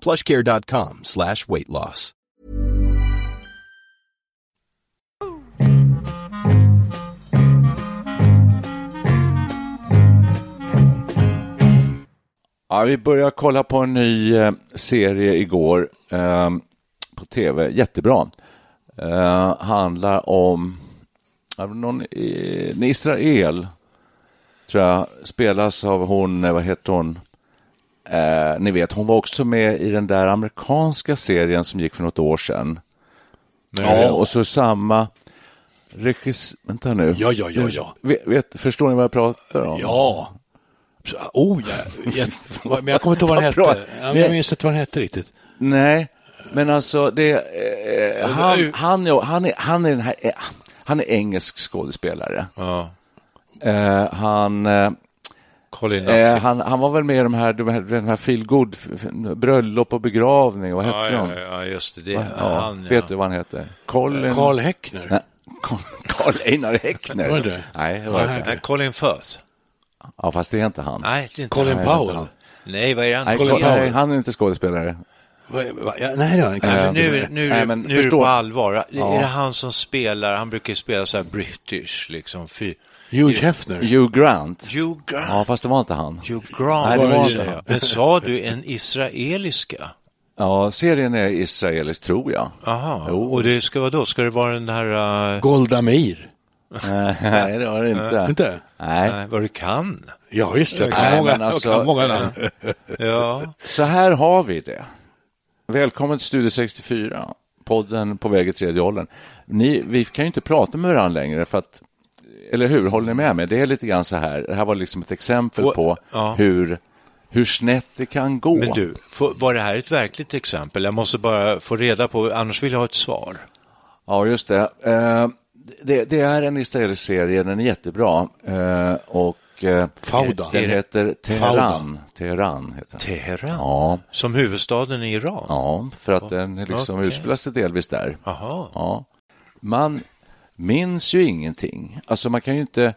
Plushcare.com slash weight loss. Ja, vi började kolla på en ny eh, serie igår eh, på tv. Jättebra. Eh, handlar om ja, någon i- en Israel, tror jag, spelas av hon, eh, vad heter hon? Eh, ni vet, hon var också med i den där amerikanska serien som gick för något år sedan. Ja, och så samma regissör... Vänta nu. Ja, ja, ja, ja. Vet, vet, förstår ni vad jag pratar om? Ja. Så- Oh, ja. Jätte- Men jag kommer inte ihåg vad den hette. Ja, men Jag minns inte vad den hette riktigt. Nej, men alltså det... Eh, Alltså, han, han, är- han, är, han är den här... eh, Han är engelsk skådespelare. Ja. Eh, han, eh, Colin eh, Nutley. han, han var väl med i de här, de här, de här feel good, f- f- bröllop och begravning, vad hette Ja, de? ja, ja, just det. det är Ja, han, ja. Vet du vad han heter? Colin... Karl Häckner. Nej, Carl- Carl Einar Häckner. Var det det? Nej, det var det Nej. inte. Nej, Colin Firth? Ja, fast det är inte han. Nej, det är inte Colin han. Powell. Nej, Nej, vad är han? Nej, Colin Carl- Powell. nej, han är inte skådespelare. Va- va- ja, Nej, det var den kanske Alltså, inte. nu nu, Nej, nej, men nu är det förstå- på allvar. Ja. Är det han som spelar, han brukar ju spela så här British, liksom. Fy. Hugh Hefner. Hugh Grant. Hugh Grant. Ja, fast det var inte han. Hugh Grant. Nej, det var inte han. det men sa du en israeliska? Ja, serien är israelisk, tror jag. Aha. Jo, och det ska vara då? Ska det vara den här... Uh, Golda Meir. Nej, det var det inte. Inte? Nej. nej, vad du kan? Ja, just det. Jag Nej, kan många- men jag alltså- kan många namn. Ja. Så här har vi det. Välkommen till Studio 64, podden på väg i tredje åldern. Ni, vi kan ju inte prata med varandra längre, för att, eller hur? Håller ni med mig? Det är lite grann så här, det här var liksom ett exempel Och- på ja. hur, hur snett det kan gå. Men du, får- var det här ett verkligt exempel? Jag måste bara få reda på, annars vill jag ha ett svar. Ja, just det. Eh, det. Det är en israelisk serie, den är jättebra. Eh, och, eh, Fauda. Den heter Teheran. Fauda. Teheran heter den. Teheran? Ja. Som huvudstaden i Iran? Ja, för att den liksom Okej. utspelar sig delvis där. Aha. Ja. Man minns ju ingenting. Alltså man kan ju inte...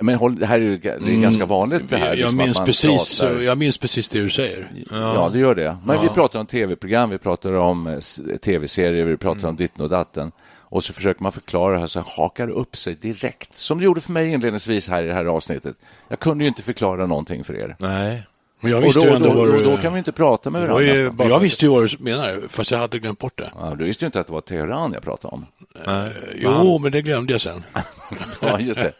Men håll, det här är ju det är ganska vanligt det här. Mm. Jag liksom, att minns man precis, pratar- jag minns precis det du säger. Ja, det gör det. Men vi pratar om tv-program, vi pratar om eh, s- tv-serier, vi Mm. pratar om ditten och datten. Och så försöker man förklara det här så här hakar det upp sig direkt. Som det gjorde för mig inledningsvis här i det här avsnittet. Jag kunde ju inte förklara någonting för er. Nej. Men jag Och visste då, ju ändå då, vad då, du... då kan vi inte prata med var varandra. ju nästan. Jag visste ju vad du menar, fast jag hade glömt bort det. Ja, du visste ju inte att det var Teheran jag pratade om. Jo, men det glömde jag sen. Ja, just det.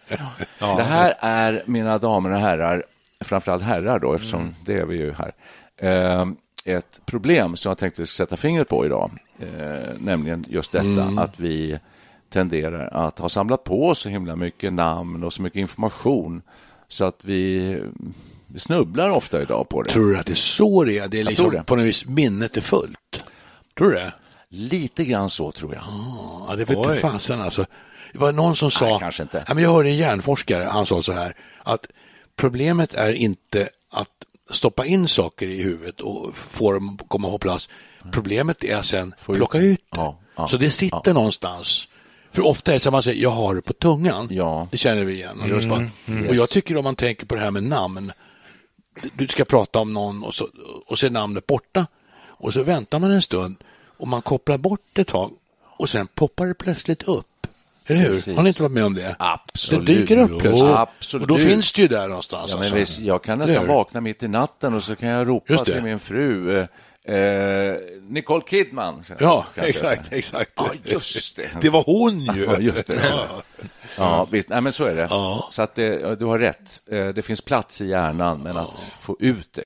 Det här är, mina damer och herrar, framförallt herrar då, eftersom det är vi ju här, eh, ett problem som jag tänkte sätta fingret på idag, eh, nämligen just detta att vi tenderar att ha samlat på oss så himla mycket namn och så mycket information så att vi vi snubblar ofta idag på det. Tror du att det är så det är? Det är liksom tror det. på något vis minnet är fullt. Tror du det? Lite grann så tror jag. Ja, det vete fasen alltså. Det var någon som sa, Nej, kanske inte. Ja, men jag hörde en hjärnforskare, han sa så här, att problemet är inte att stoppa in saker i huvudet och få dem att komma på plats. Problemet är att sen plocka ut det. Ja, ja, så det sitter någonstans. För ofta är det så att man säger, jag har det på tungan. Ja. Det känner vi igen. Och jag tycker om man tänker på det här med namn, du ska prata om någon och så, och så är namnet borta. Och så väntar man en stund och man kopplar bort ett tag och sen poppar det plötsligt upp. Eller hur? Precis. Har ni inte varit med om det? Absolut. Det dyker upp plötsligt. Jo, absolut. Och då finns det ju där någonstans. Ja, men alltså. visst, jag kan Eller nästan hur? vakna mitt i natten och så kan jag ropa Just det. till min fru eh, Eh, Nicole Kidman. Ja, kanske jag exakt. säger. exakt. Ja, just det. Det var hon ju. Ja, just det. Ja. Ja, visst. Nej, men så är det. Ja. Så att det, ja, du har rätt. Eh, Det finns plats i hjärnan, men att få ut det.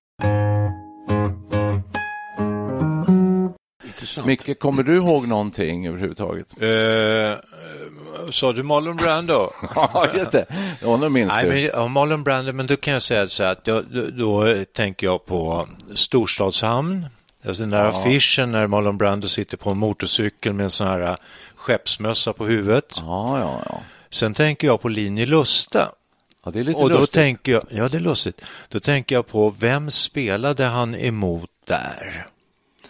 Intressant. Micke, kommer du ihåg någonting överhuvudtaget? Eh, sa du Marlon Brando? Ja, just det. Ja, nu minns Nej, men, du. ja, Marlon Brando, men då kan jag säga så här att jag, då, då eh, tänker jag på Storstadshamn. Alltså den där affischen när Marlon Brando sitter på en motorcykel med en sån här eh, skeppsmössa på huvudet. Ja, ja, ja. Sen tänker jag på Linje Lusta. ja det är lite Och då lustigt. tänker jag, ja det är lustigt, då tänker jag på vem spelade han emot där?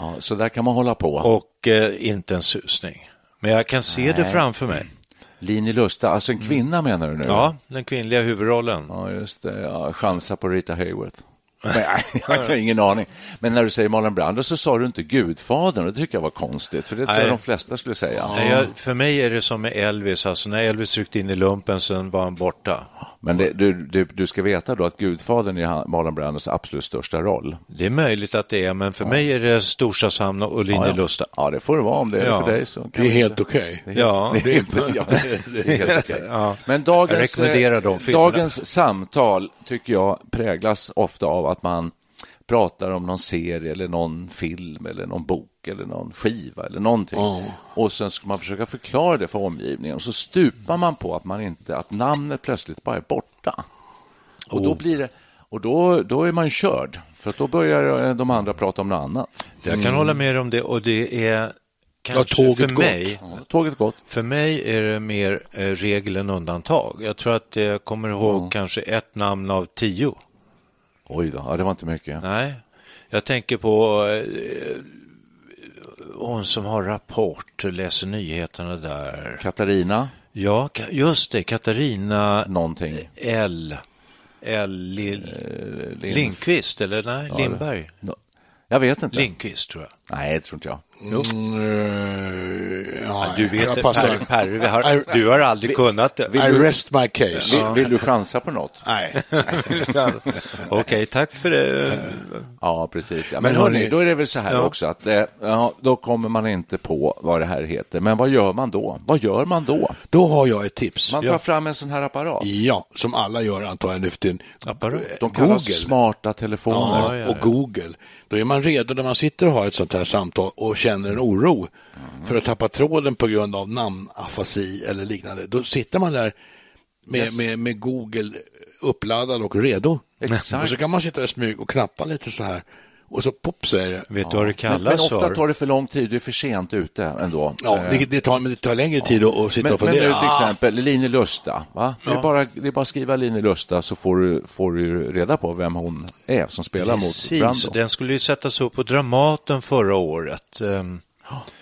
Ja, så där kan man hålla på. Och eh, inte en susning. Men jag kan se det framför mig. Linje Lusta, alltså en kvinna menar du nu? Ja, den kvinnliga huvudrollen. Ja, just det. Ja, chansa på Rita Hayworth. Nej, jag har ingen aning. Men när du säger Marlon Brando så sa du inte Gudfadern och det tycker jag var konstigt, för det tror jag Nej. de flesta skulle säga. Nej, jag, för mig är det som med Elvis, alltså när Elvis ryckte in i lumpen sen var han borta. Men det, du, du, du ska veta då att Gudfadern är han- Marlon Brandos absolut största roll. Det är möjligt att det är, men för mig är det Storstadshamn och Linje ja. Lusta. Ja, det får det vara om det är Ja. det för dig. Så kan Det är vi- helt okej. Ja, Det är, ja, Mm. det är helt okej. Men Jag dagens, rekommenderar de eh, filmerna. dagens samtal tycker jag präglas ofta av att man pratar om någon serie eller någon film eller någon bok eller någon skiva eller någonting. Och sen ska man försöka förklara det för omgivningen och så stupar man på att, man inte, att namnet plötsligt bara är borta. Och då blir det och då, då är man körd, för att då börjar eh, de andra prata om något annat. Jag kan hålla med dig om det och det är kanske tåget för gått. mig Ja, Tåget gått. För mig är det mer eh, regel än undantag. Jag tror att jag kommer ihåg kanske ett namn av tio. Oj då, ja, det var inte mycket. Nej, jag tänker på eh, hon som har Rapport, läser nyheterna där. Katarina, Ja, Ka- just det, Katarina någonting. L. L. Eh, Lill- Lindqvist, eller nej, Lindberg. Nå- Jag vet inte. Lindqvist tror jag. Nej, det tror inte jag. Mm, eh, ja, Du vet jag det, passar. Perre, Perre, vi har, du har aldrig kunnat det. I rest my case. Vill, vill du chansa på något? Nej. Okej, tack för det. Ja, precis. Ja, men Men hörni, hörni, då är det väl så här också att eh, ja, då kommer man inte på vad det här heter. Men vad gör man då? Vad gör man då? Då har jag ett tips. Man tar ja. fram en sån här apparat. ja, som alla gör antagligen nu för tiden. Apparat. De kallas Google. smarta telefoner. Ja, och Google. Då är man redo när man sitter och har ett sånt här samtal och känner en oro för att tappa tråden på grund av namnafasi eller liknande. Då sitter man där med, med, med Google uppladdad och redo. Exakt. Och så kan man sitta i smyg och knappa lite så här och så pop säger det. Vet du vad det Men, men kallas ofta för? tar det för lång tid, du är för sent ute ändå. Ja, Eh, det, det, tar, men det tar längre tid att att sitta men, och men fundera. nu till Ah, exempel Line Lusta. Va? Det, är bara, det är bara att skriva Line Lusta så får du, får du reda på vem hon är som spelar mot Precis, Brando. den skulle ju sättas upp på Dramaten förra året. Ehm,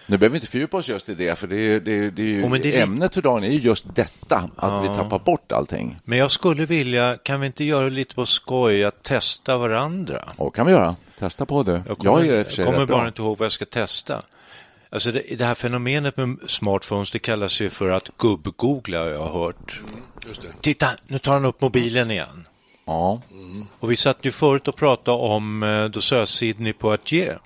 Nu behöver vi inte fördjupa oss just i det, för det är, det är, det är ju, Jo, men det är lite- ämnet för dagen är ju just detta, att vi tappar bort allting. Men jag skulle vilja, kan vi inte göra det lite på skoj, att testa varandra? Och kan vi göra. Testa på du. Jag, är i och för sig jag kommer rätt bara bra. inte ihåg vad jag ska testa. Alltså det, det här fenomenet med smartphones, det kallas ju för att gubb-googla har jag hört. Mm, just det. Titta, nu tar han upp mobilen igen. Ja. Och vi satt ju förut och pratade om, eh, då sa jag Sidney Poitier,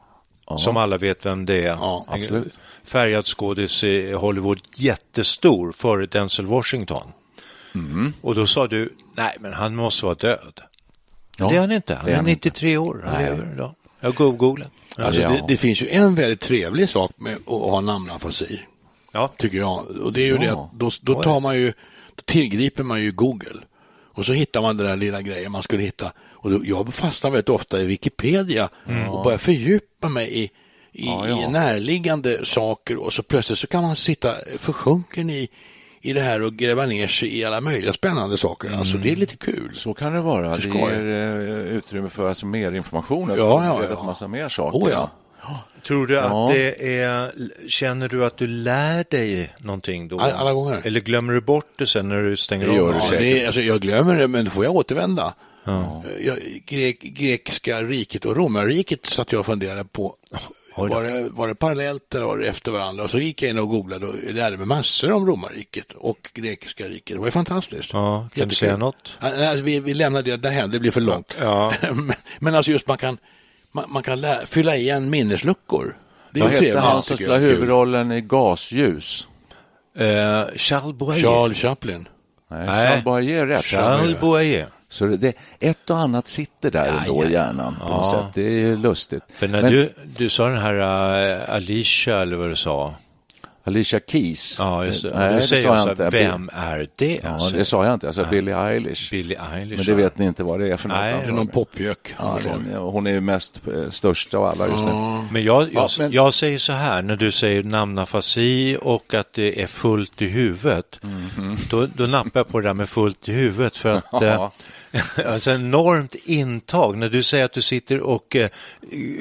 som alla vet vem det är. Ja, En absolut. Färgad skådis i Hollywood, jättestor, före Denzel Washington. Mm. Och då sa du, nej men han måste vara död. Ja. Det är han inte, han Det är är han 93 år, han lever idag. Jag googlar. Ja. Alltså, Ja. det, det finns ju en väldigt trevlig sak med att ha namnafasi. Ja. tycker jag. Och det är ju det att då, då tar man ju, då tillgriper man ju Google. Och så hittar man den där lilla grejen man skulle hitta. Och då, jag fastnar väldigt ofta i Wikipedia och börjar fördjupa mig i, i, i närliggande saker och så plötsligt så kan man sitta försjunken i, i det här och gräva ner sig i alla möjliga spännande saker. Alltså det är lite kul. Så kan det vara. Det skoj. ger eh, utrymme för alltså, mer information. Ja, ja, Jag vet ja. att massa mer saker. Oh, ja. Tror du att det är, känner du att du lär dig någonting då? All- alla gånger. Eller glömmer du bort det sen när du stänger Det gör av? du Ja, säkert. det är, alltså, jag glömmer det, men då får jag återvända. Eh, Jag, grek, grekiska riket och romarriket satt jag och funderade på. Var det, var det parallellt eller var det efter varandra? Och så gick jag in och googlade och lärde mig massor om romarriket och grekiska riket. Det var ju fantastiskt. Ja, kan du Jättekul. säga något? Ja, nej, Alltså, vi, vi lämnar det därhän, det blir för långt. Ja. men, men alltså just man kan man, man kan lä- fylla igen minnesluckor. Det är Vad ju hette trevligt. han tycker som spelade jag. huvudrollen i Gasljus? Eh, Charles Boyer. Charles Chaplin. Nej, Nej. Charles Boyer är rätt. Charles Boyer. Så det, det, ett och annat sitter där ändå i hjärnan på något sätt. Det är ju lustigt. För när Men du, du sa den här eh, Alicia eller vad du sa. Alicia Keys. Ja, just det. Nej, du det säger sa jag jag så inte. här, vem är det? Ja, Alltså, det sa jag inte. Jag sa Billie Eilish. Billie Eilish. Men det vet ni inte vad det är för något. Nej, Det är antagligen. någon popjök. Ja, det- hon är ju mest eh, största av alla just nu. Men jag, jag, Ja, men- jag säger så här, när du säger namnafasi och att det är fullt i huvudet, då, då nappar jag på det där med fullt i huvudet för att eh, Mhm. Ja. alltså enormt intag. När du säger att du sitter och eh,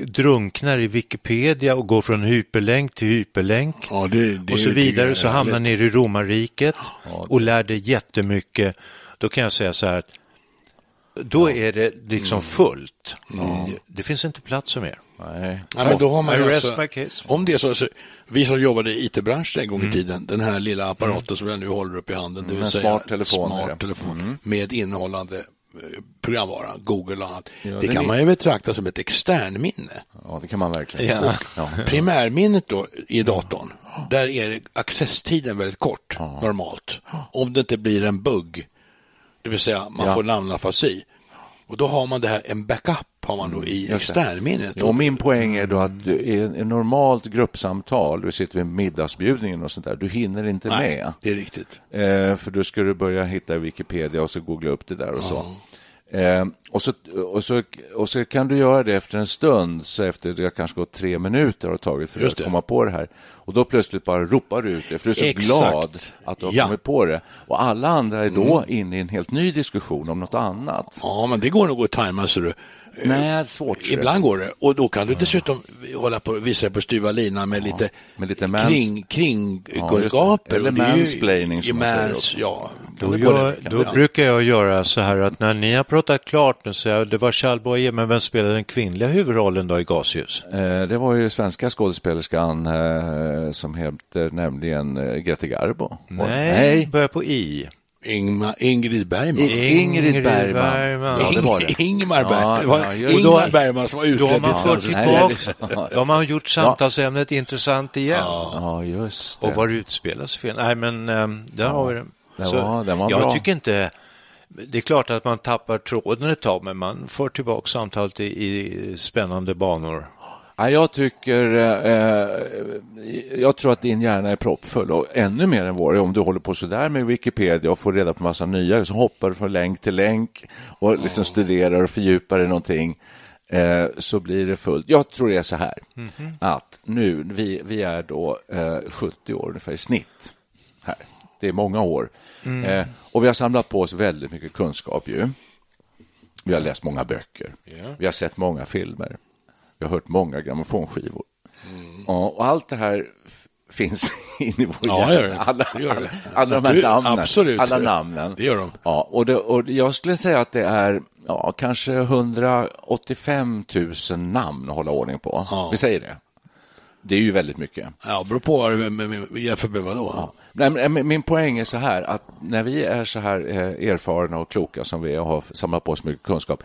drunknar i Wikipedia och går från hyperlänk till hyperlänk Ja, det- det och så är ju- vidare, så det är hamnar ni i romarriket och lär dig jättemycket, då kan jag säga så här, då är det liksom fullt. Det finns inte plats för mer. Nej. Mm. Ja, men då har man I ju rest alltså, my case. om det är så, så, vi som jobbade i IT-branschen en gång i tiden, den här lilla apparaten som jag nu håller upp i handen, det vill en säga Mm. smart telefon liksom. Mm. är det. smart telefon med innehållande eh, programvara, Google och annat. det, det kan är- man ju betrakta som ett externminne. Ja, det kan man verkligen. Ja. Ja. Primärminnet då i datorn, där är det- accesstiden väldigt kort normalt. Om det inte blir en bugg, det vill säga man Ja. får namnafasi. Och då har man det här, en backup har man då i Mm, just det. externminnet. Och min poäng är då att du, i en- i normalt gruppsamtal, du sitter vid middagsbjudningen och sånt där, du hinner inte Nej, det är riktigt. med. Eh, för då ska du börja hitta i Wikipedia och så googla upp det där och så. Eh, och, så, och, så, och så kan du göra det efter en stund, så efter det har kanske gått tre minuter har det tagit för Just att det. komma på det här. Och då plötsligt bara ropar du ut det, för du är så Exakt. glad att du har Ja. Mm. kommit på det. Och alla andra är då inne i en helt ny diskussion om något annat. Ja, men det går nog att tajma, så du. Nej, svårt. ser jag. Ibland går det. Och då kan du dessutom hålla på, visa dig på styva linan med lite, med lite mans- kring, kring Ja, just det. kunskaper. Eller Och det är ju- mansplaining, som man säger mans- också. Ja, Då, det går gör, det. då Ja. brukar jag göra så här att när ni har pratat klart nu säger jag det var Charles Boyer, men vem spelade den kvinnliga huvudrollen då i Gasljus? Eh, Det var ju svenska skådespelerskan eh, som heter nämligen eh, Grete Garbo. börjar på I. Ingmar, Ingrid Bergman. I- Ingrid Ingrid Bergman. Bergman. Ja, det var det. Ingmar Bergman. Ja, det var ja, just- Ingmar och då- Bergman som var Då har utsedd man fört till Nej, tillbaka, det- då har man gjort samtalsämnet intressant igen. Ja, just det. Och var det utspelas fel? Nej, men ehm, där har vi det. Den var- den var jag bra. tycker inte... Det är klart att man tappar tråden ett tag, men man får tillbaka samtalet i, i spännande banor. Ja, jag tycker... eh, eh, Jag tror att din hjärna är proppfull och ännu mer än vår. Om du håller på sådär med Wikipedia och får reda på massa nya så hoppar du från länk till länk och liksom studerar och fördjupar dig i någonting eh, så blir det fullt. Jag tror det är så här Mhm. att nu, vi, vi är då eh, 70 år ungefär i snitt här. Det är många år. Mm. Eh, och vi har samlat på oss väldigt mycket kunskap ju. Vi har läst många böcker. Vi har sett många filmer. Vi har hört många grammofonskivor. Mm. Ja, och allt det här f- finns in i vår Ja, det gör det. hjärna. Alla, Det gör alla, det. alla de här Du- namnen. absolut. Alla namnen. Det gör de. Ja, och, det, och jag skulle säga att det är ja, kanske 185 000 namn att hålla ordning på. Ja. Vi säger det. Det är ju väldigt mycket. Ja, beror på vad du- men- men- jämför med vadå. Ja. Nej, men, men Min poäng är så här att när vi är så här eh, erfarna och kloka som vi är och har samlat på oss mycket kunskap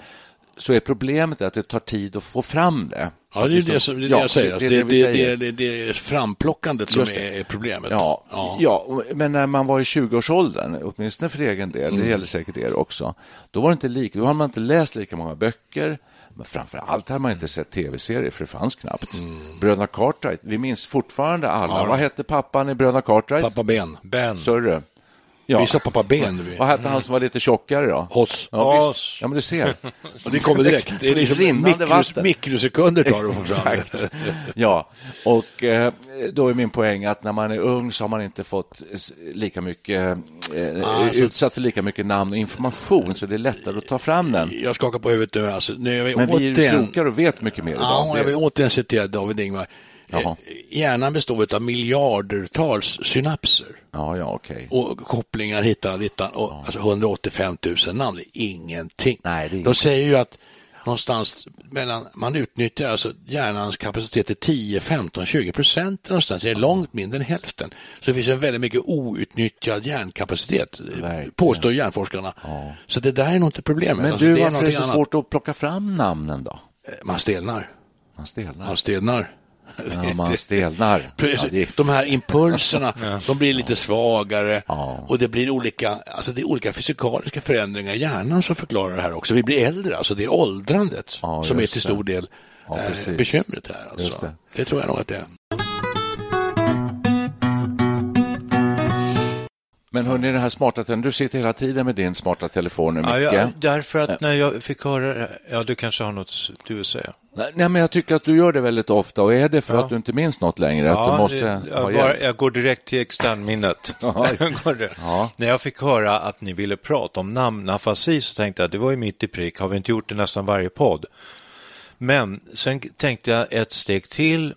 så är problemet att det tar tid att få fram det. Ja, det är ju det, som, det, är det Ja, jag säger. Alltså, det det, det, är det vi det, säger. det, det, är framplockandet som Just det. är är problemet. Ja, ja, och- men när man var i 20-årsåldern, åtminstone för egen del, Mm. det gäller säkert er också, då var det inte lika, då hade man inte läst lika många böcker, men framför allt hade man inte sett tv-serier, för det fanns knappt. Mm. Bröderna Cartwright, vi minns fortfarande alla, vad hette pappan i Bröderna Cartwright? Pappa Ben. Ben. Sörre. Ja. Vi sa pappa Ben. Vi. Vad hette han som var lite tjockare då? Hoss. Ja, visst. Hoss. ja men du ser. Och det kommer direkt. Det är liksom rinnande mikros, vatten. mikrosekunder tar det att få fram det. Exakt. Ja, och eh, då är min poäng att när man är ung så har man inte fått s- lika mycket, eh, Ah, så- utsatt för lika mycket namn och information så det är lättare att ta fram den. Jag skakar på huvudet nu. Alltså, nu är vi Men vi är ju återigen, klokare och vet mycket mer idag. ja, Det- jag vill återigen citera David Ingvar. Jaha. Eh, Hjärnan består av miljardertals synapser ja, ja okej. och kopplingar hittan och dittan. Och, Alltså 185 000 namn, det är ingenting. Nej, det är De ingenting. säger ju att någonstans mellan, man utnyttjar alltså hjärnans kapacitet till 10, 15, 20 procent någonstans. Det är långt mindre än hälften. Så det finns en väldigt mycket outnyttjad hjärnkapacitet, Verkligen. påstår hjärnforskarna. Så det där är nog inte problemet. Men Alltså, du, det är varför är det någonting så annat. svårt att plocka fram namnen då? Man stelnar. Man stelnar. Man stelnar. Ja, man stelnar. Ja, det är De här impulserna, de blir lite svagare Ja. och det blir olika, alltså det är olika fysikaliska förändringar i hjärnan som förklarar det här också. Vi blir äldre, alltså det är åldrandet Ja, som är just till det. stor del Ja, eh, precis. bekymret här. Alltså. Just Det. det. tror jag nog att det är. Men hörni, den här smarta telefonen, du sitter hela tiden med din smarta telefon nu, Micke. Ja, jag, därför att när jag fick höra det här- ja du kanske har något du vill säga? Nej, nej, men jag tycker att du gör det väldigt ofta och är det för Ja. att du inte minns något längre? att Ja, du måste det- jag, ha bara, hjälp? jag går direkt till externminnet. Ja. Går det. Ja. När jag fick höra att ni ville prata om namnafasi så tänkte jag att det var ju mitt i prick, har vi inte gjort det nästan varje podd? Men sen tänkte jag ett steg till,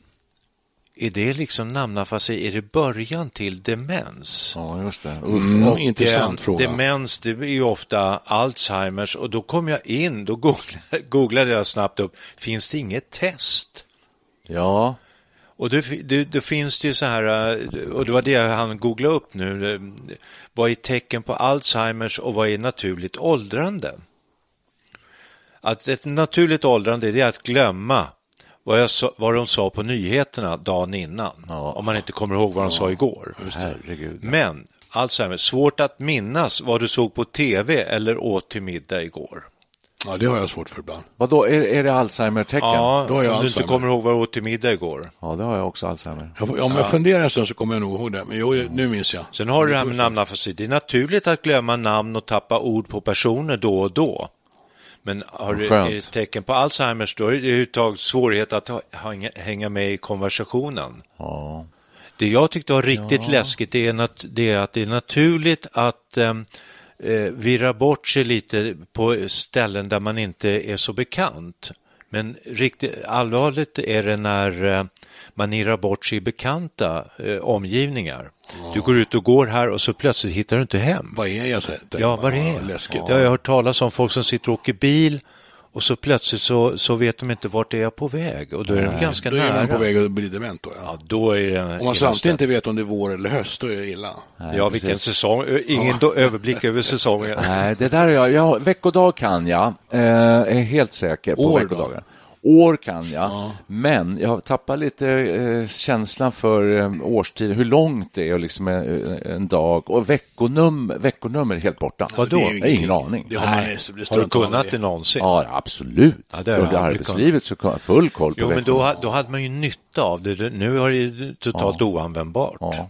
är det liksom namnafasi, är det början till demens? Ja, just det. Uff. Mm, Och, intressant eh, fråga. Demens, det är ju ofta Alzheimers och då kom jag in, då googlade, googlade jag snabbt upp, finns det inget test? Ja, Och då, då, då finns det ju så här, eh, och det var det han googlade upp nu, eh, vad är tecken på Alzheimers och vad är naturligt åldrande? Att ett naturligt åldrande det är att glömma vad, jag, sa- vad de sa på nyheterna dagen innan, Ja. om man inte kommer ihåg vad de sa igår. herregud. Men Alzheimer, svårt att minnas vad du såg på tv eller åt till middag igår. Ja, det har jag svårt för ibland. Vadå, är, är det Alzheimer-tecken? Ja, Då har jag om du inte Alzheimer. kommer ihåg vad du åt till middag igår. ja, det har jag också, Alzheimer. Jag, om jag funderar en stund så kommer jag nog ihåg det, men jo, nu minns jag. Sen har du det här med namnafasi. Det är naturligt att glömma namn och tappa ord på personer då och då. Men har du Skönt. är det tecken på Alzheimers då är det överhuvudtaget svårighet att ha- hänga- hänga med i konversationen. Ja. Det jag tyckte var riktigt läskigt det är, nat- det är att det är naturligt att ehm, eh, virra bort sig lite på ställen där man inte är så bekant. Men riktigt allvarligt är det när eh, man irrar bort sig i bekanta eh, omgivningar. Du går ut och går här och så plötsligt hittar du inte hem. Vad är jag? Så, tänker Ja, man. vad det är. Läskigt. Det har jag hört talas om, folk som sitter och åker bil och så plötsligt så, så vet de inte vart är jag på väg och då är de ganska Då är nära. man på väg att bli dement då. Ja. Då är det Om man illa samtidigt inte vet om det är vår eller höst, då är det illa. ja, vilken säsong. Ingen då- överblick över säsongen. Nej, det där är jag. jag veckodag kan jag. Eh, är helt säker på År då? veckodagar. År kan jag, men jag tappar lite eh, känslan för eh, årstid, hur långt det är och liksom, eh, en dag och veckonum, veckonummer är helt borta. Vadå? Det är ju ingenting. ingen aning. Det har man- Nej. det struntar Har du man kunnat i. det någonsin? Ja, absolut. Ja, det har jag Under aldrig arbetslivet så kan jag full koll på Jo, men då, veckorna. ha- då hade man ju nytta av det. Nu är det ju totalt oanvändbart. Ja.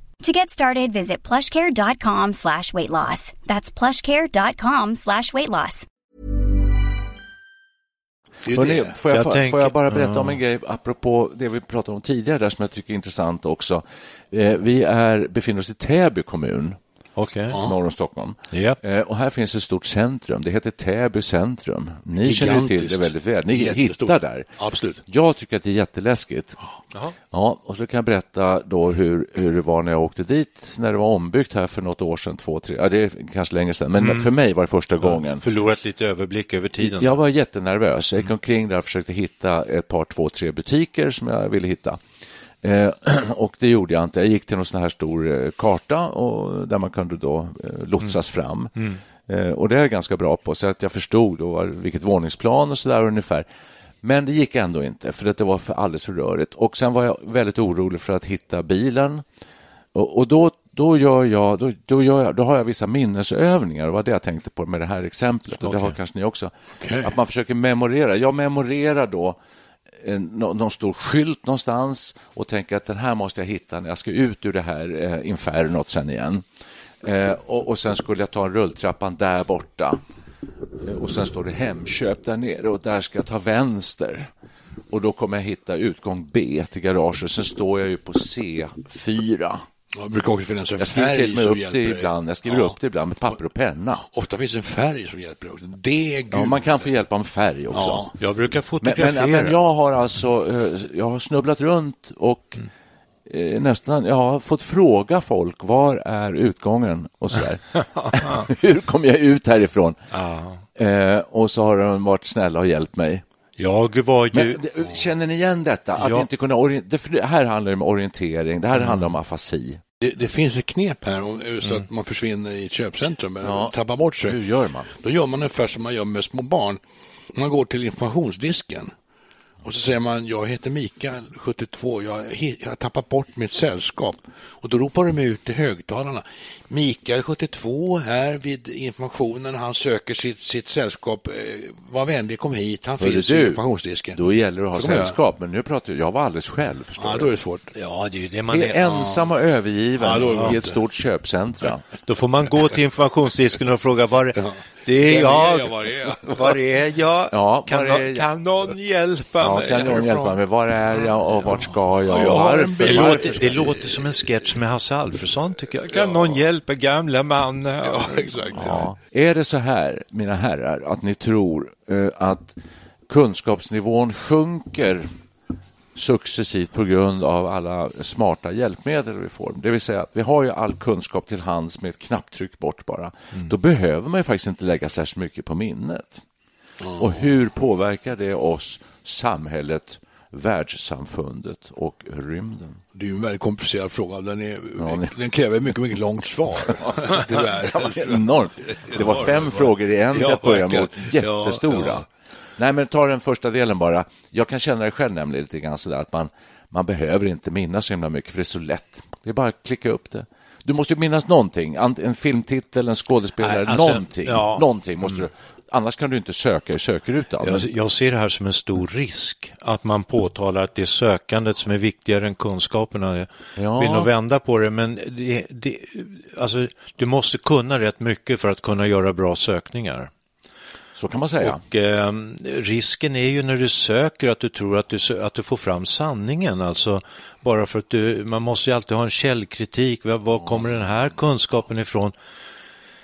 To get started, visit plushcare.com slash weight loss. That's plushcare.com slash weight loss. Det är ju Hörrni, det. får, jag, Jag får, tänker- får jag bara berätta Ja. om en grej apropå det vi pratade om tidigare där som jag tycker är intressant också. Eh, vi är, befinner oss i Täby kommun Okej. norr om Stockholm. Japp. Eh, Och här finns ett stort centrum. Det heter Täby centrum. Ni känner ju till det Gigantiskt. väldigt väl. Ni Jättestort. hittar där. Absolut. Jag tycker att det är jätteläskigt. Ja, och så kan jag berätta då hur, hur det var när jag åkte dit, när det var ombyggt här för något år sedan, två, tre, ja, det är kanske länge sedan, men Mm. för mig var det första gången. Förlorat lite överblick över tiden. Jag var jättenervös. Jag gick omkring där och försökte hitta ett par, två, tre butiker som jag ville hitta. Eh, och det gjorde jag inte. Jag gick till någon sån här stor eh, karta och, där man kunde då eh, lotsas fram. Eh, och det är jag ganska bra på, så att jag förstod då var- vilket våningsplan och så där ungefär. Men det gick ändå inte, för att det var för alldeles för rörigt. Och sen var jag väldigt orolig för att hitta bilen. Och, och då, då, gör jag, då, då, gör jag, då har jag vissa minnesövningar. Det var det jag tänkte på med det här exemplet. Och Det har kanske ni också. Att man försöker memorera. Jag memorerar då en, nå- någon stor skylt någonstans och tänker att den här måste jag hitta när jag ska ut ur det här eh, infernot sen igen. Eh, och, och sen skulle jag ta en rulltrappan där borta. Eh, Och sen står det Hemköp där nere och där ska jag ta vänster. Och då kommer jag hitta utgång B till garaget. Sen står jag ju på C4. Ja, Det brukar också finnas en Jag skriver till färg och med som upp hjälper det dig. ibland. Jag skriver Ja. upp det ibland med papper och penna. Ofta finns en färg som hjälper dig också. Det är gult. Ja, man kan få hjälp av färg också. Ja. Jag brukar Men, fotografera. men, men jag har alltså eh, jag har snubblat runt och Mm. eh, nästan, jag har fått fråga folk var är utgången och sådär. Hur kommer jag ut härifrån? Eh, och så har de varit snälla och hjälpt mig. Jag var ju... Men det, känner ni igen detta? Att Ja. inte kunna orien- det, för det här handlar ju om orientering, det Mm. här handlar om afasi. Det, det finns ett knep här om, så att man försvinner i ett köpcentrum, eller Mm. Ja. tappar bort sig. Hur gör man? Då gör man ungefär som man gör med små barn. Man går till informationsdisken och så säger man, jag heter Mikael, 72, jag he- jag har tappat bort mitt sällskap. Och då ropar de ut i högtalarna, Mikael 72 här vid informationen, han söker sitt, sitt sällskap, Eh, var vänlig kom hit, han Hörru finns i informationsdisken. då gäller det att ha Så kommer jag. sällskap, men nu pratar jag, jag var alldeles själv. Förstår Ja, du? då är det svårt. Ja, det är ju det man Jag är. är ensam och Ja, övergiven då är det i ett inte. stort köpcentra. Då får man gå till informationsdisken och fråga var det Vem är är jag, jag? Var är jag? Var är jag? Ja, kan, var nå- är jag? kan någon hjälpa Ja, mig? kan någon härifrån? hjälpa mig? Var är jag och vart ska jag? jag och har en varför? Det bil. Varför? låter, det låter som en sketch med Hasse Alfredson tycker jag. Kan någon hjälpa gamla man? Ja, exakt. Ja. Är det så här, mina herrar, att ni tror eh, att kunskapsnivån sjunker successivt på grund av alla smarta hjälpmedel vi får. Det vill säga att vi har ju all kunskap till hands med ett knapptryck bort bara. Då behöver man ju faktiskt inte lägga särskilt mycket på minnet. Och hur påverkar det oss, samhället, världssamfundet och rymden? Det är ju en väldigt komplicerad fråga. Den, är, Ja, ni- den kräver mycket, mycket långt svar. Det var Tyvärr. enormt. Det var fem frågor i en till Ja, att börja med, verkligen. och jättestora. Ja, Nej, men ta den första delen bara. Jag kan känna det själv nämligen lite grann sådär att man, man behöver inte minnas så himla mycket, för det är så lätt. Det är bara att klicka upp det. Du måste ju minnas någonting, ant- en filmtitel, en skådespelare, Nej, alltså, någonting. ja. någonting måste du, annars kan du inte söka i sökrutan. Jag, jag ser det här som en stor risk, att man påtalar att det är sökandet som är viktigare än kunskaperna. Ja. Jag vill nog vända på det, men det, det, alltså, du måste kunna rätt mycket för att kunna göra bra sökningar. Så kan man säga. Och, eh, risken är ju när du söker att du tror att du, sö- att du får fram sanningen. Alltså, bara för att du, man måste ju alltid ha en källkritik. Var, var kommer den här kunskapen ifrån?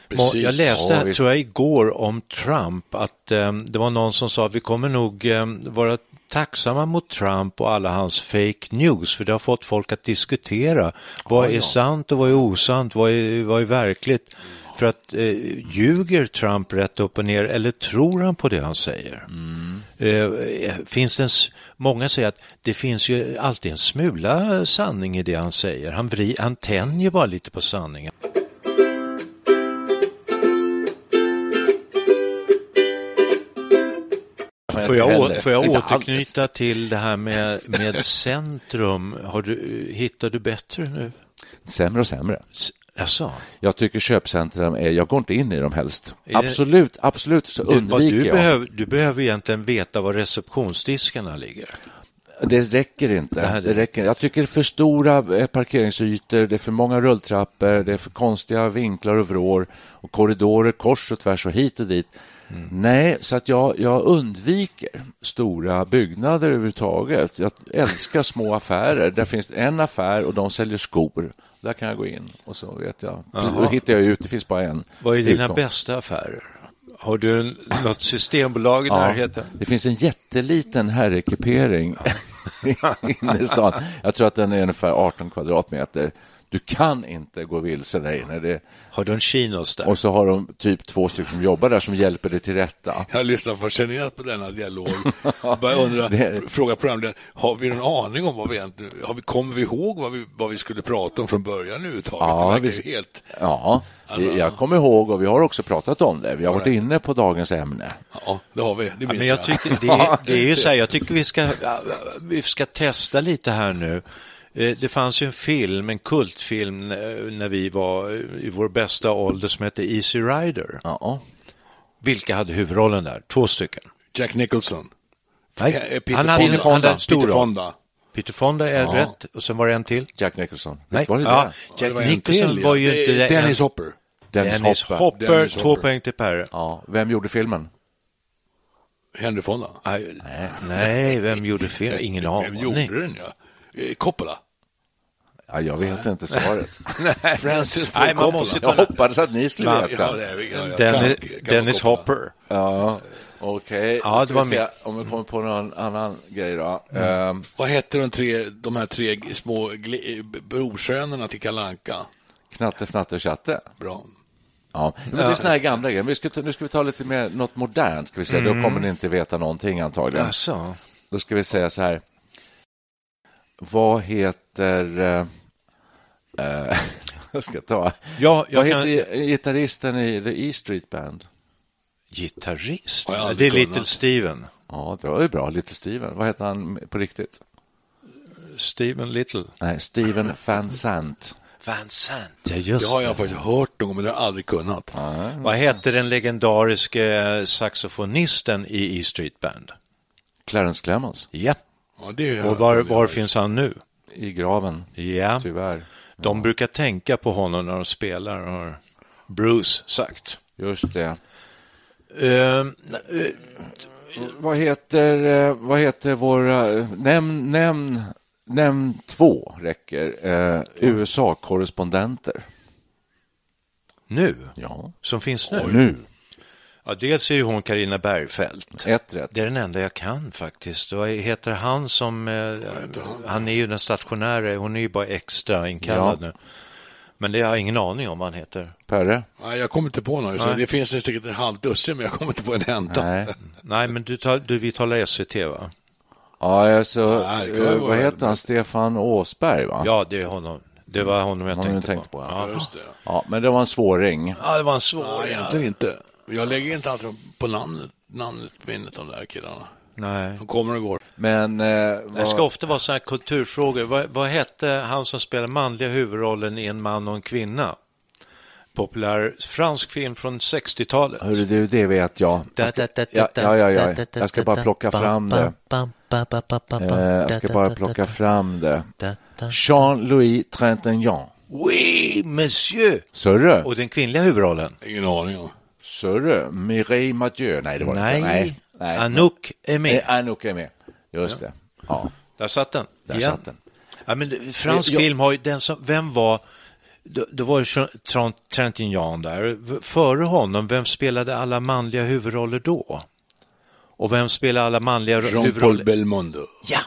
Må- Precis. Jag läste, Ja, visst. tror jag, igår om Trump att eh, det var någon som sa att vi kommer nog eh, vara tacksamma mot Trump och alla hans fake news, för det har fått folk att diskutera. Vad är sant och vad är osant? Vad är, vad är verkligt? För att eh, ljuger Trump rätt upp och ner eller tror han på det han säger? Eh, finns det en, s- många säger att det finns ju alltid en smula sanning i det han säger. Han, vri, han tänjer bara lite på sanningen. Får jag, å- får jag Inte alls. återknyta till det här med, med centrum? Har du, hittar du bättre nu? Sämre och sämre. S- Jaså? Jag tycker köpcentrum är, jag går inte in i dem helst. det- absolut, absolut så Du, vad undviker du, jag. behöver, du behöver egentligen veta var receptionsdiskarna ligger. Det räcker inte. Det räcker. Jag tycker det är för stora eh, parkeringsytor, det är för många rulltrappor, det är för konstiga vinklar och vrår och korridorer kors och tvärs och hit och dit. Mm. Nej, så att jag, jag undviker stora byggnader överhuvudtaget. Jag älskar små affärer. Där finns en affär och de säljer skor. Där kan jag gå in och så vet jag. Då hittar jag ut, det finns bara en. Vad är dina utgång. bästa affärer? Har du en- något systembolag i närheten? Det finns en jätteliten herrekipering inne i stan. Jag tror att den är ungefär 18 kvadratmeter. Du kan inte gå vilse där inne. Det, Har du en Chinos där? och så har de typ två stycken som jobbar där som hjälper dig till rätta. Jag lyssnar fascinerat på denna dialog. Jag Bara undra, Det- fråga programledaren, har vi någon aning om vad vi egentligen, har vi, kommer vi ihåg vad vi, vad vi skulle prata om från början överhuvudtaget? Ja, det verkar vi- ju helt... Ja, Alltså- jag kommer ihåg och vi har också pratat om det. Vi har varit inne på dagens ämne. Ja, det har vi, det minns Ja, men jag tycker, det, är- det är ju så här, jag tycker vi ska, vi ska testa lite här nu. Eh, Det fanns ju en film, en kultfilm eh, när vi var i vår bästa ålder som hette Easy Rider. Ja. Vilka hade huvudrollen där? Två stycken. Jack Nicholson. Nej, Eh, Peter han hade, Fonda. han hade en stor Peter roll. Fonda. Peter Fonda är rätt och sen var det en till. Jack Nicholson. Nej, Visst var det ja, det? Det Jack var en Nicholson till, ja. var ju inte Eh, det. Dennis Hopper. Dennis, Dennis Hopper. Hopper, Dennis två Hopper. poäng till Per. Ja, vem gjorde filmen? Henry Fonda. Aj, Nej, vem gjorde fel? Ingen Vem gjorde aning. den? Ja. Eh, Coppola. Ja, jag vet inte svaret. Francis Ford Nej, man Coppola. måste Jag kolla. hoppades att ni skulle Man- Ja, veta. det är vi. Ja, ja. Dennis, Frank- gammal Dennis Coppola. Hopper. Ja, okej. Ja, Då det ska var Mm. vi se min. Om vi kommer på någon annan grej då. Ehm, Vad hette de, tre, de här tre g- små gl- eh, b- brorsönerna till Kalanka? knatte, fnatte, tjatte. Bra. Ja. Men det är såna här gamla grejer. Vi ska, ta- nu ska vi ta lite mer något modernt. Ska vi säga. Mm. Då kommer ni inte veta någonting antagligen. Alltså, Då ska vi säga så här. Vad heter... eh, eh, jag ska ta... Ja, jag Vad kan- heter gitarristen i The E Street Band? gitarrist. Har jag det är aldrig Little kunnat. Steven. Ja, det var ju bra. Little Steven. Vad heter han på riktigt? Steven Little. Nej, Steven Van Sant. Van Sant. Ja, Det just har det. jag faktiskt hört någon gång, men det har jag aldrig kunnat. Vad hette den legendariske eh, saxofonisten i E Street Band? Clarence Clemons. Ja. Ja, det har jag Och hört var, om, det har var jag. finns han nu? I graven, Ja. tyvärr. De brukar tänka på honom när de spelar, har Bruce sagt. Just det. Ehm, Vad heter, eh, vad heter våra... Nämn, nämn, nämn två räcker. Eh, USA-korrespondenter. nu? Ja. Som finns Och nu? nu. Ja, dels är ju hon Karina Bergfeldt. Ett rätt. Det är den enda jag kan faktiskt. Vad heter han som... Eh, han är ju den stationära, hon är ju bara extra inkallad Ja. nu. Men det har jag ingen aning om vad han heter. Perre? Nej, jag kommer inte på någon. Så Nej. det finns säkert en halv dussin, men jag kommer inte på en enda. Nej. Nej, men du, tar, du vi talar SVT va? Ja, alltså, Nej, det kan eh, vara vad heter väldigt- han? Stefan Åsberg, va? Ja, det är honom. Det var honom jag Honom tänkte, du tänkte på, ja. ja. Just det. Ja, men det var en svåring. Ja, det var en svår... Nej, egentligen inte. Jag lägger inte alltid på namnet, namnet minnet de där killarna. Nej. De kommer och går. Men... Eh, Det ska vad... ofta vara så här kulturfrågor. Vad, vad hette han som spelar manliga huvudrollen i En man och en kvinna? Populär fransk film från 60-talet. Hörru du, det vet jag. Jag ska, ja, ja, ja, ja. jag ska bara plocka fram det. Eh, jag ska bara plocka fram det. Jean-Louis Trintignant. Oui, monsieur! Sörre? Och den kvinnliga huvudrollen? Ingen aning om. Sörre? Mireille Mathieu? Nej, det var det Nej. inte. Nej. Nej. Eh, Anouk är med. Nej, Anouk är med. Just det. Ja. Där satt den. Där satt den. Eh, Ja, men det- fransk Jag- film har ju den som, vem var, då, då var ju Jean- Trent- Trentignan där. V- Före honom, vem spelade alla manliga huvudroller då? Och vem spelade alla manliga ro- Jean-Paul huvudroller? Belmondo. ja,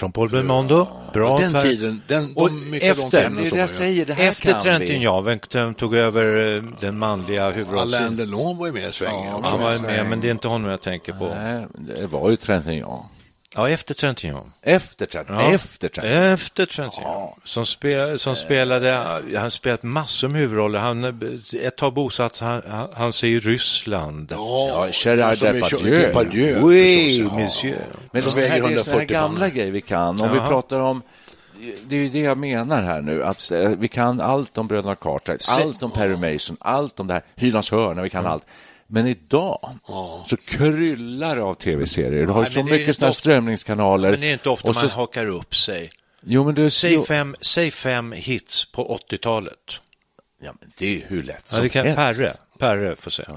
Jean-Paul Belmondo. Bra. Den Per. tiden, den, Och de, mycket av de efter, filmerna som jag var- säger, det här efter kan Trentignan, vem vem tog över eh, den manliga Alain huvudrollen? Delon var ju med i svängen. också. Han var med, men det är inte honom jag tänker vi. på. Nej, det var ju Trintignant. Ja, efter Trentignan. Efter Trentignan? Ja. Eh. Efter Eh. Trentignan? Efter Trentin. Som, spe, som spelade, han spelat massor med huvudroller. Han, eh, ett tag bosatt han, han, han sig i Ryssland. Ja, Gerard som är Depardieu. Depardieu. oui, förstås, ja. monsieur. Men De det här, väger det är såna här 140 gamla pannor. grejer vi kan. Om vi pratar om... Det är ju det jag menar här nu, att eh, vi kan allt om bröderna Carter, allt om Perry Mason, allt om det här, Hylands hörna, vi kan allt. Men idag så kryllar det av tv-serier. Du har Nej, så men det är mycket inte såna här ofta- strömningskanaler. Men det är inte ofta Och så- man hakar upp sig. Jo, men du... Säg jo- fem, säg fem hits på 80-talet. Ja, men det är ju hur lätt Ja, det som kan, helst. Perre, Perre får säga.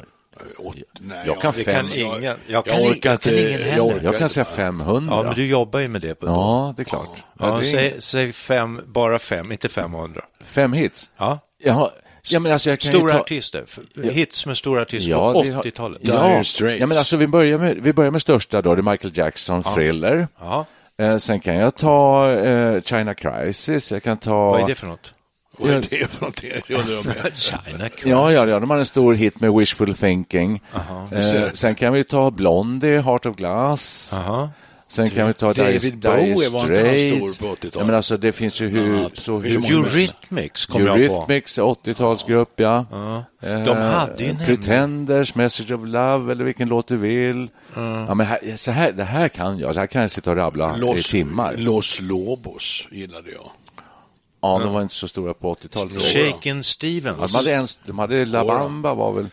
åt, nej, Jag kan det fem. jag, Ingen- jag, jag kan i- orkar jag kan inte. ingen heller. orkar Jag kan inte. säga 500. Ja, men du jobbar ju med det. På Ja, det är klart. Ja, Ja, det är säg, säg fem, bara fem, inte 500. Fem hits? Ja. Jaha. Ja, men alltså jag kan ju Stora ta... artister, f- hits med stora artister Ja, på vi har- 80-talet. Ja. Dire Straits. ja, men alltså vi börjar med, vi börjar med största då, det är Michael Jackson, Thriller. Ja. Eh, sen kan jag ta eh, China Crisis, jag kan ta... Vad är det för något? Vad är det för någonting? Jag undrar om jag- China Ja, ja, ja, de hade en stor hit med Wishful Thinking. Eh, sen kan vi ta Blondie, Heart of Glass. Sen kan vi ta Dire, David Dire Bowie, var inte han Straits. stor på 80-talet? Ja, men alltså det finns ju hur... Så hur Eurythmics kom jag på. Eurythmics, 80-talsgrupp, ja. De hade ju Eh, nämligen- Pretenders, Message of Love eller vilken låt du vill. Ja, men här, så här, det här kan jag, så här kan jag sitta och rabbla i Los, timmar. Los Lobos gillade jag. Ja, de var inte så stora på 80-talet. Shaken Ja, Stevens. de, hade ens, de hade La Bamba var väl...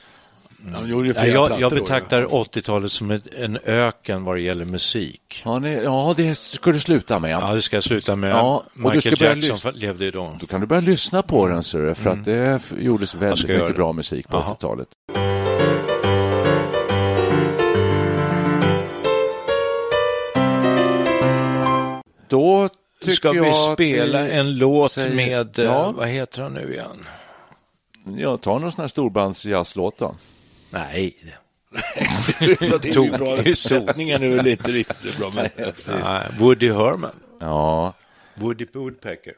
De gjorde ju Mm. Ja, flera jag, plattor jag då, betraktar 80-talet som ett, en öken vad det gäller musik. Ja, nej, ja, det ska du sluta med. Ja, det ska jag sluta med. Ja, och du Michael ska börja Jackson lyssna- levde idag. Då kan du börja lyssna på den, ser du, för att det f- gjordes väldigt Mm. ska göra mycket det. bra musik på Jaha. 80-talet. Då tycker Ska vi jag att spela vi en låt säger- med, eh, Ja, vad heter han nu igen? jag tar någon sån här storbandsjazzlåt då. Nej. Ja. Det är ju bra översättningar nu, lite riktigt bra. Men... Nej, Woody Herman. Ja, Woody Woodpecker.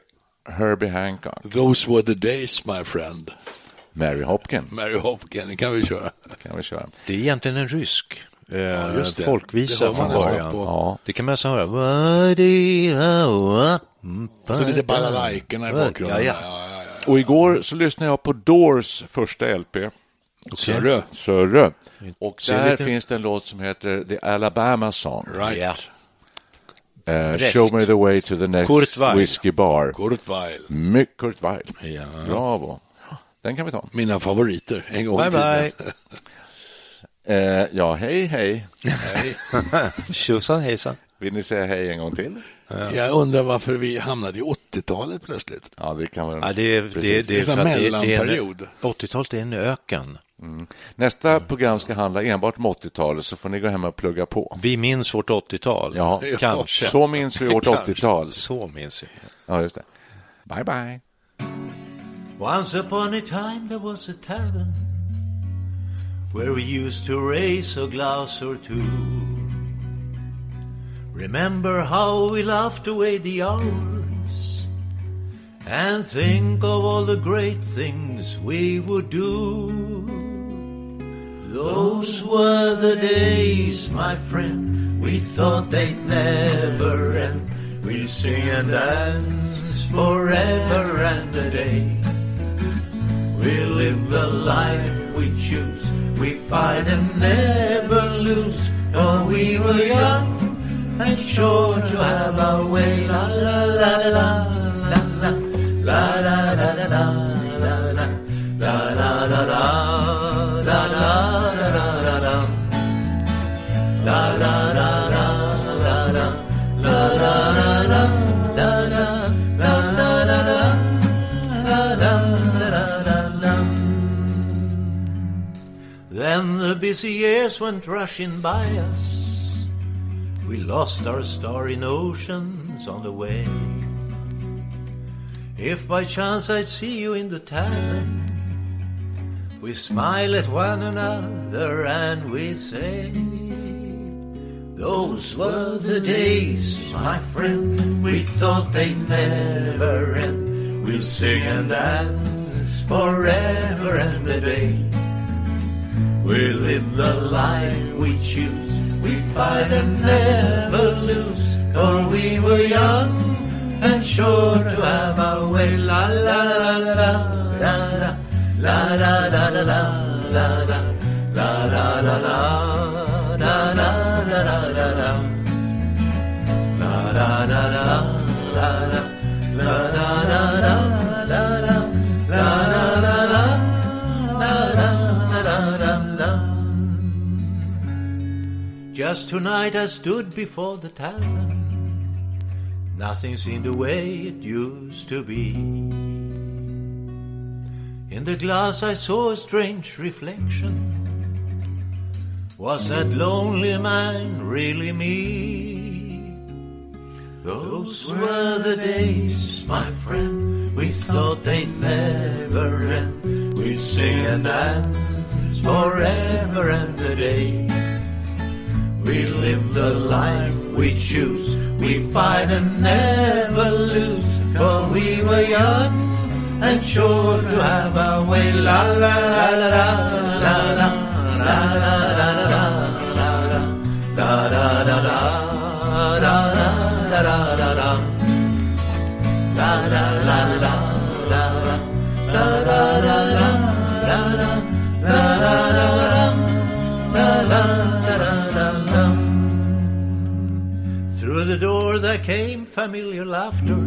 Herbie Hancock, Those were the days, my friend. Mary Hopkin Mary Hopkin, den kan vi köra. kan vi köra. Det är egentligen en rysk eh, just det. folkvisa Det hör man från nästan början. på. Ja. Det kan man nästan höra. Woody Herman. Så lite balalajkorna i bakgrunden. Ja, ja. Ja, ja, ja. Och igår så lyssnade jag på Doors första LP. Sörö. Sörö. Och Ser där lite- finns det en låt som heter The Alabama Song. Right. Ja. Eh, show me the way to the next Kurt Weill. whiskey bar. Kurt Weill. My Kurt Weill. Ja. Bravo. Den kan vi ta. Mina favoriter en gång Bye, i tiden. bye. Eh, ja, hej, hej. Tjosan hejsan. Vill ni säga hej en gång till? Jag undrar varför vi hamnade i 80-talet plötsligt. Ja, det kan vi. Ja, det, är- det, det, Det är är en sån för att det, det är en, mellanperiod. 80-talet är en öken. Nästa program ska handla enbart om 80-talet, så får ni gå hem och plugga på. Vi minns vårt 80-tal. Ja, Kanske. Så minns vi vårt Kanske. 80-tal. Så minns jag. Ja, just det. Bye, bye. Once upon a time there was a tavern where we used to raise a glass or two. Remember how we laughed away the hours and think of all the great things we would do. Those were the days, my friend, we thought they'd never end. We'd sing and dance forever and a day. We live the life we choose. We fight and never lose. For we were young and sure to have our way. La la la la la la la la la la la la la la la la la la la la la la la la Then the busy years went rushing by us. We lost our star in oceans on the way. If by chance I'd see you in the tavern, we smile at one another and we say, Those were the days, my friend, we thought they'd never end. We'll sing and dance forever and a day. We live the life we choose. We fight and never lose. For we were young and sure to have our way. La la la la la la la la la la la la la la la la la la la la la la la. Just tonight I stood before the tavern. Nothing seemed the way it used to be. In the glass I saw a strange reflection. Was that lonely man really me? Those were the days, my friend, we thought they'd never end. We'd sing and dance forever and a day. We live the life we choose, we fight and never lose, for we were young and sure to have our way. La la la la la la la la la la la da da da da da da da da da da da da da Through the door there came familiar laughter.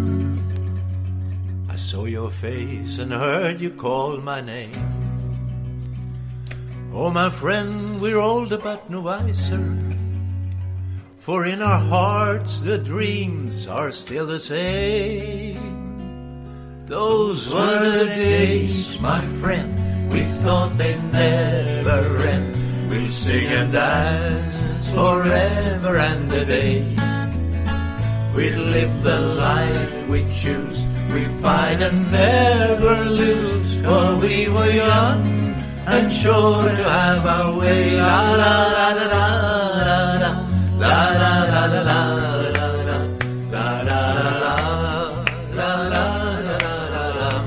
I saw your face and heard you call my name. Oh, my friend, we're older but no wiser. For in our hearts the dreams are still the same. Those were the days, my friend, we thought they'd never end. We'll sing and dance forever and a day. We live the life we choose. We fight and never lose. For we were young and sure to have our way. La la la la la la la la la la la la la la la la la la la la la la la.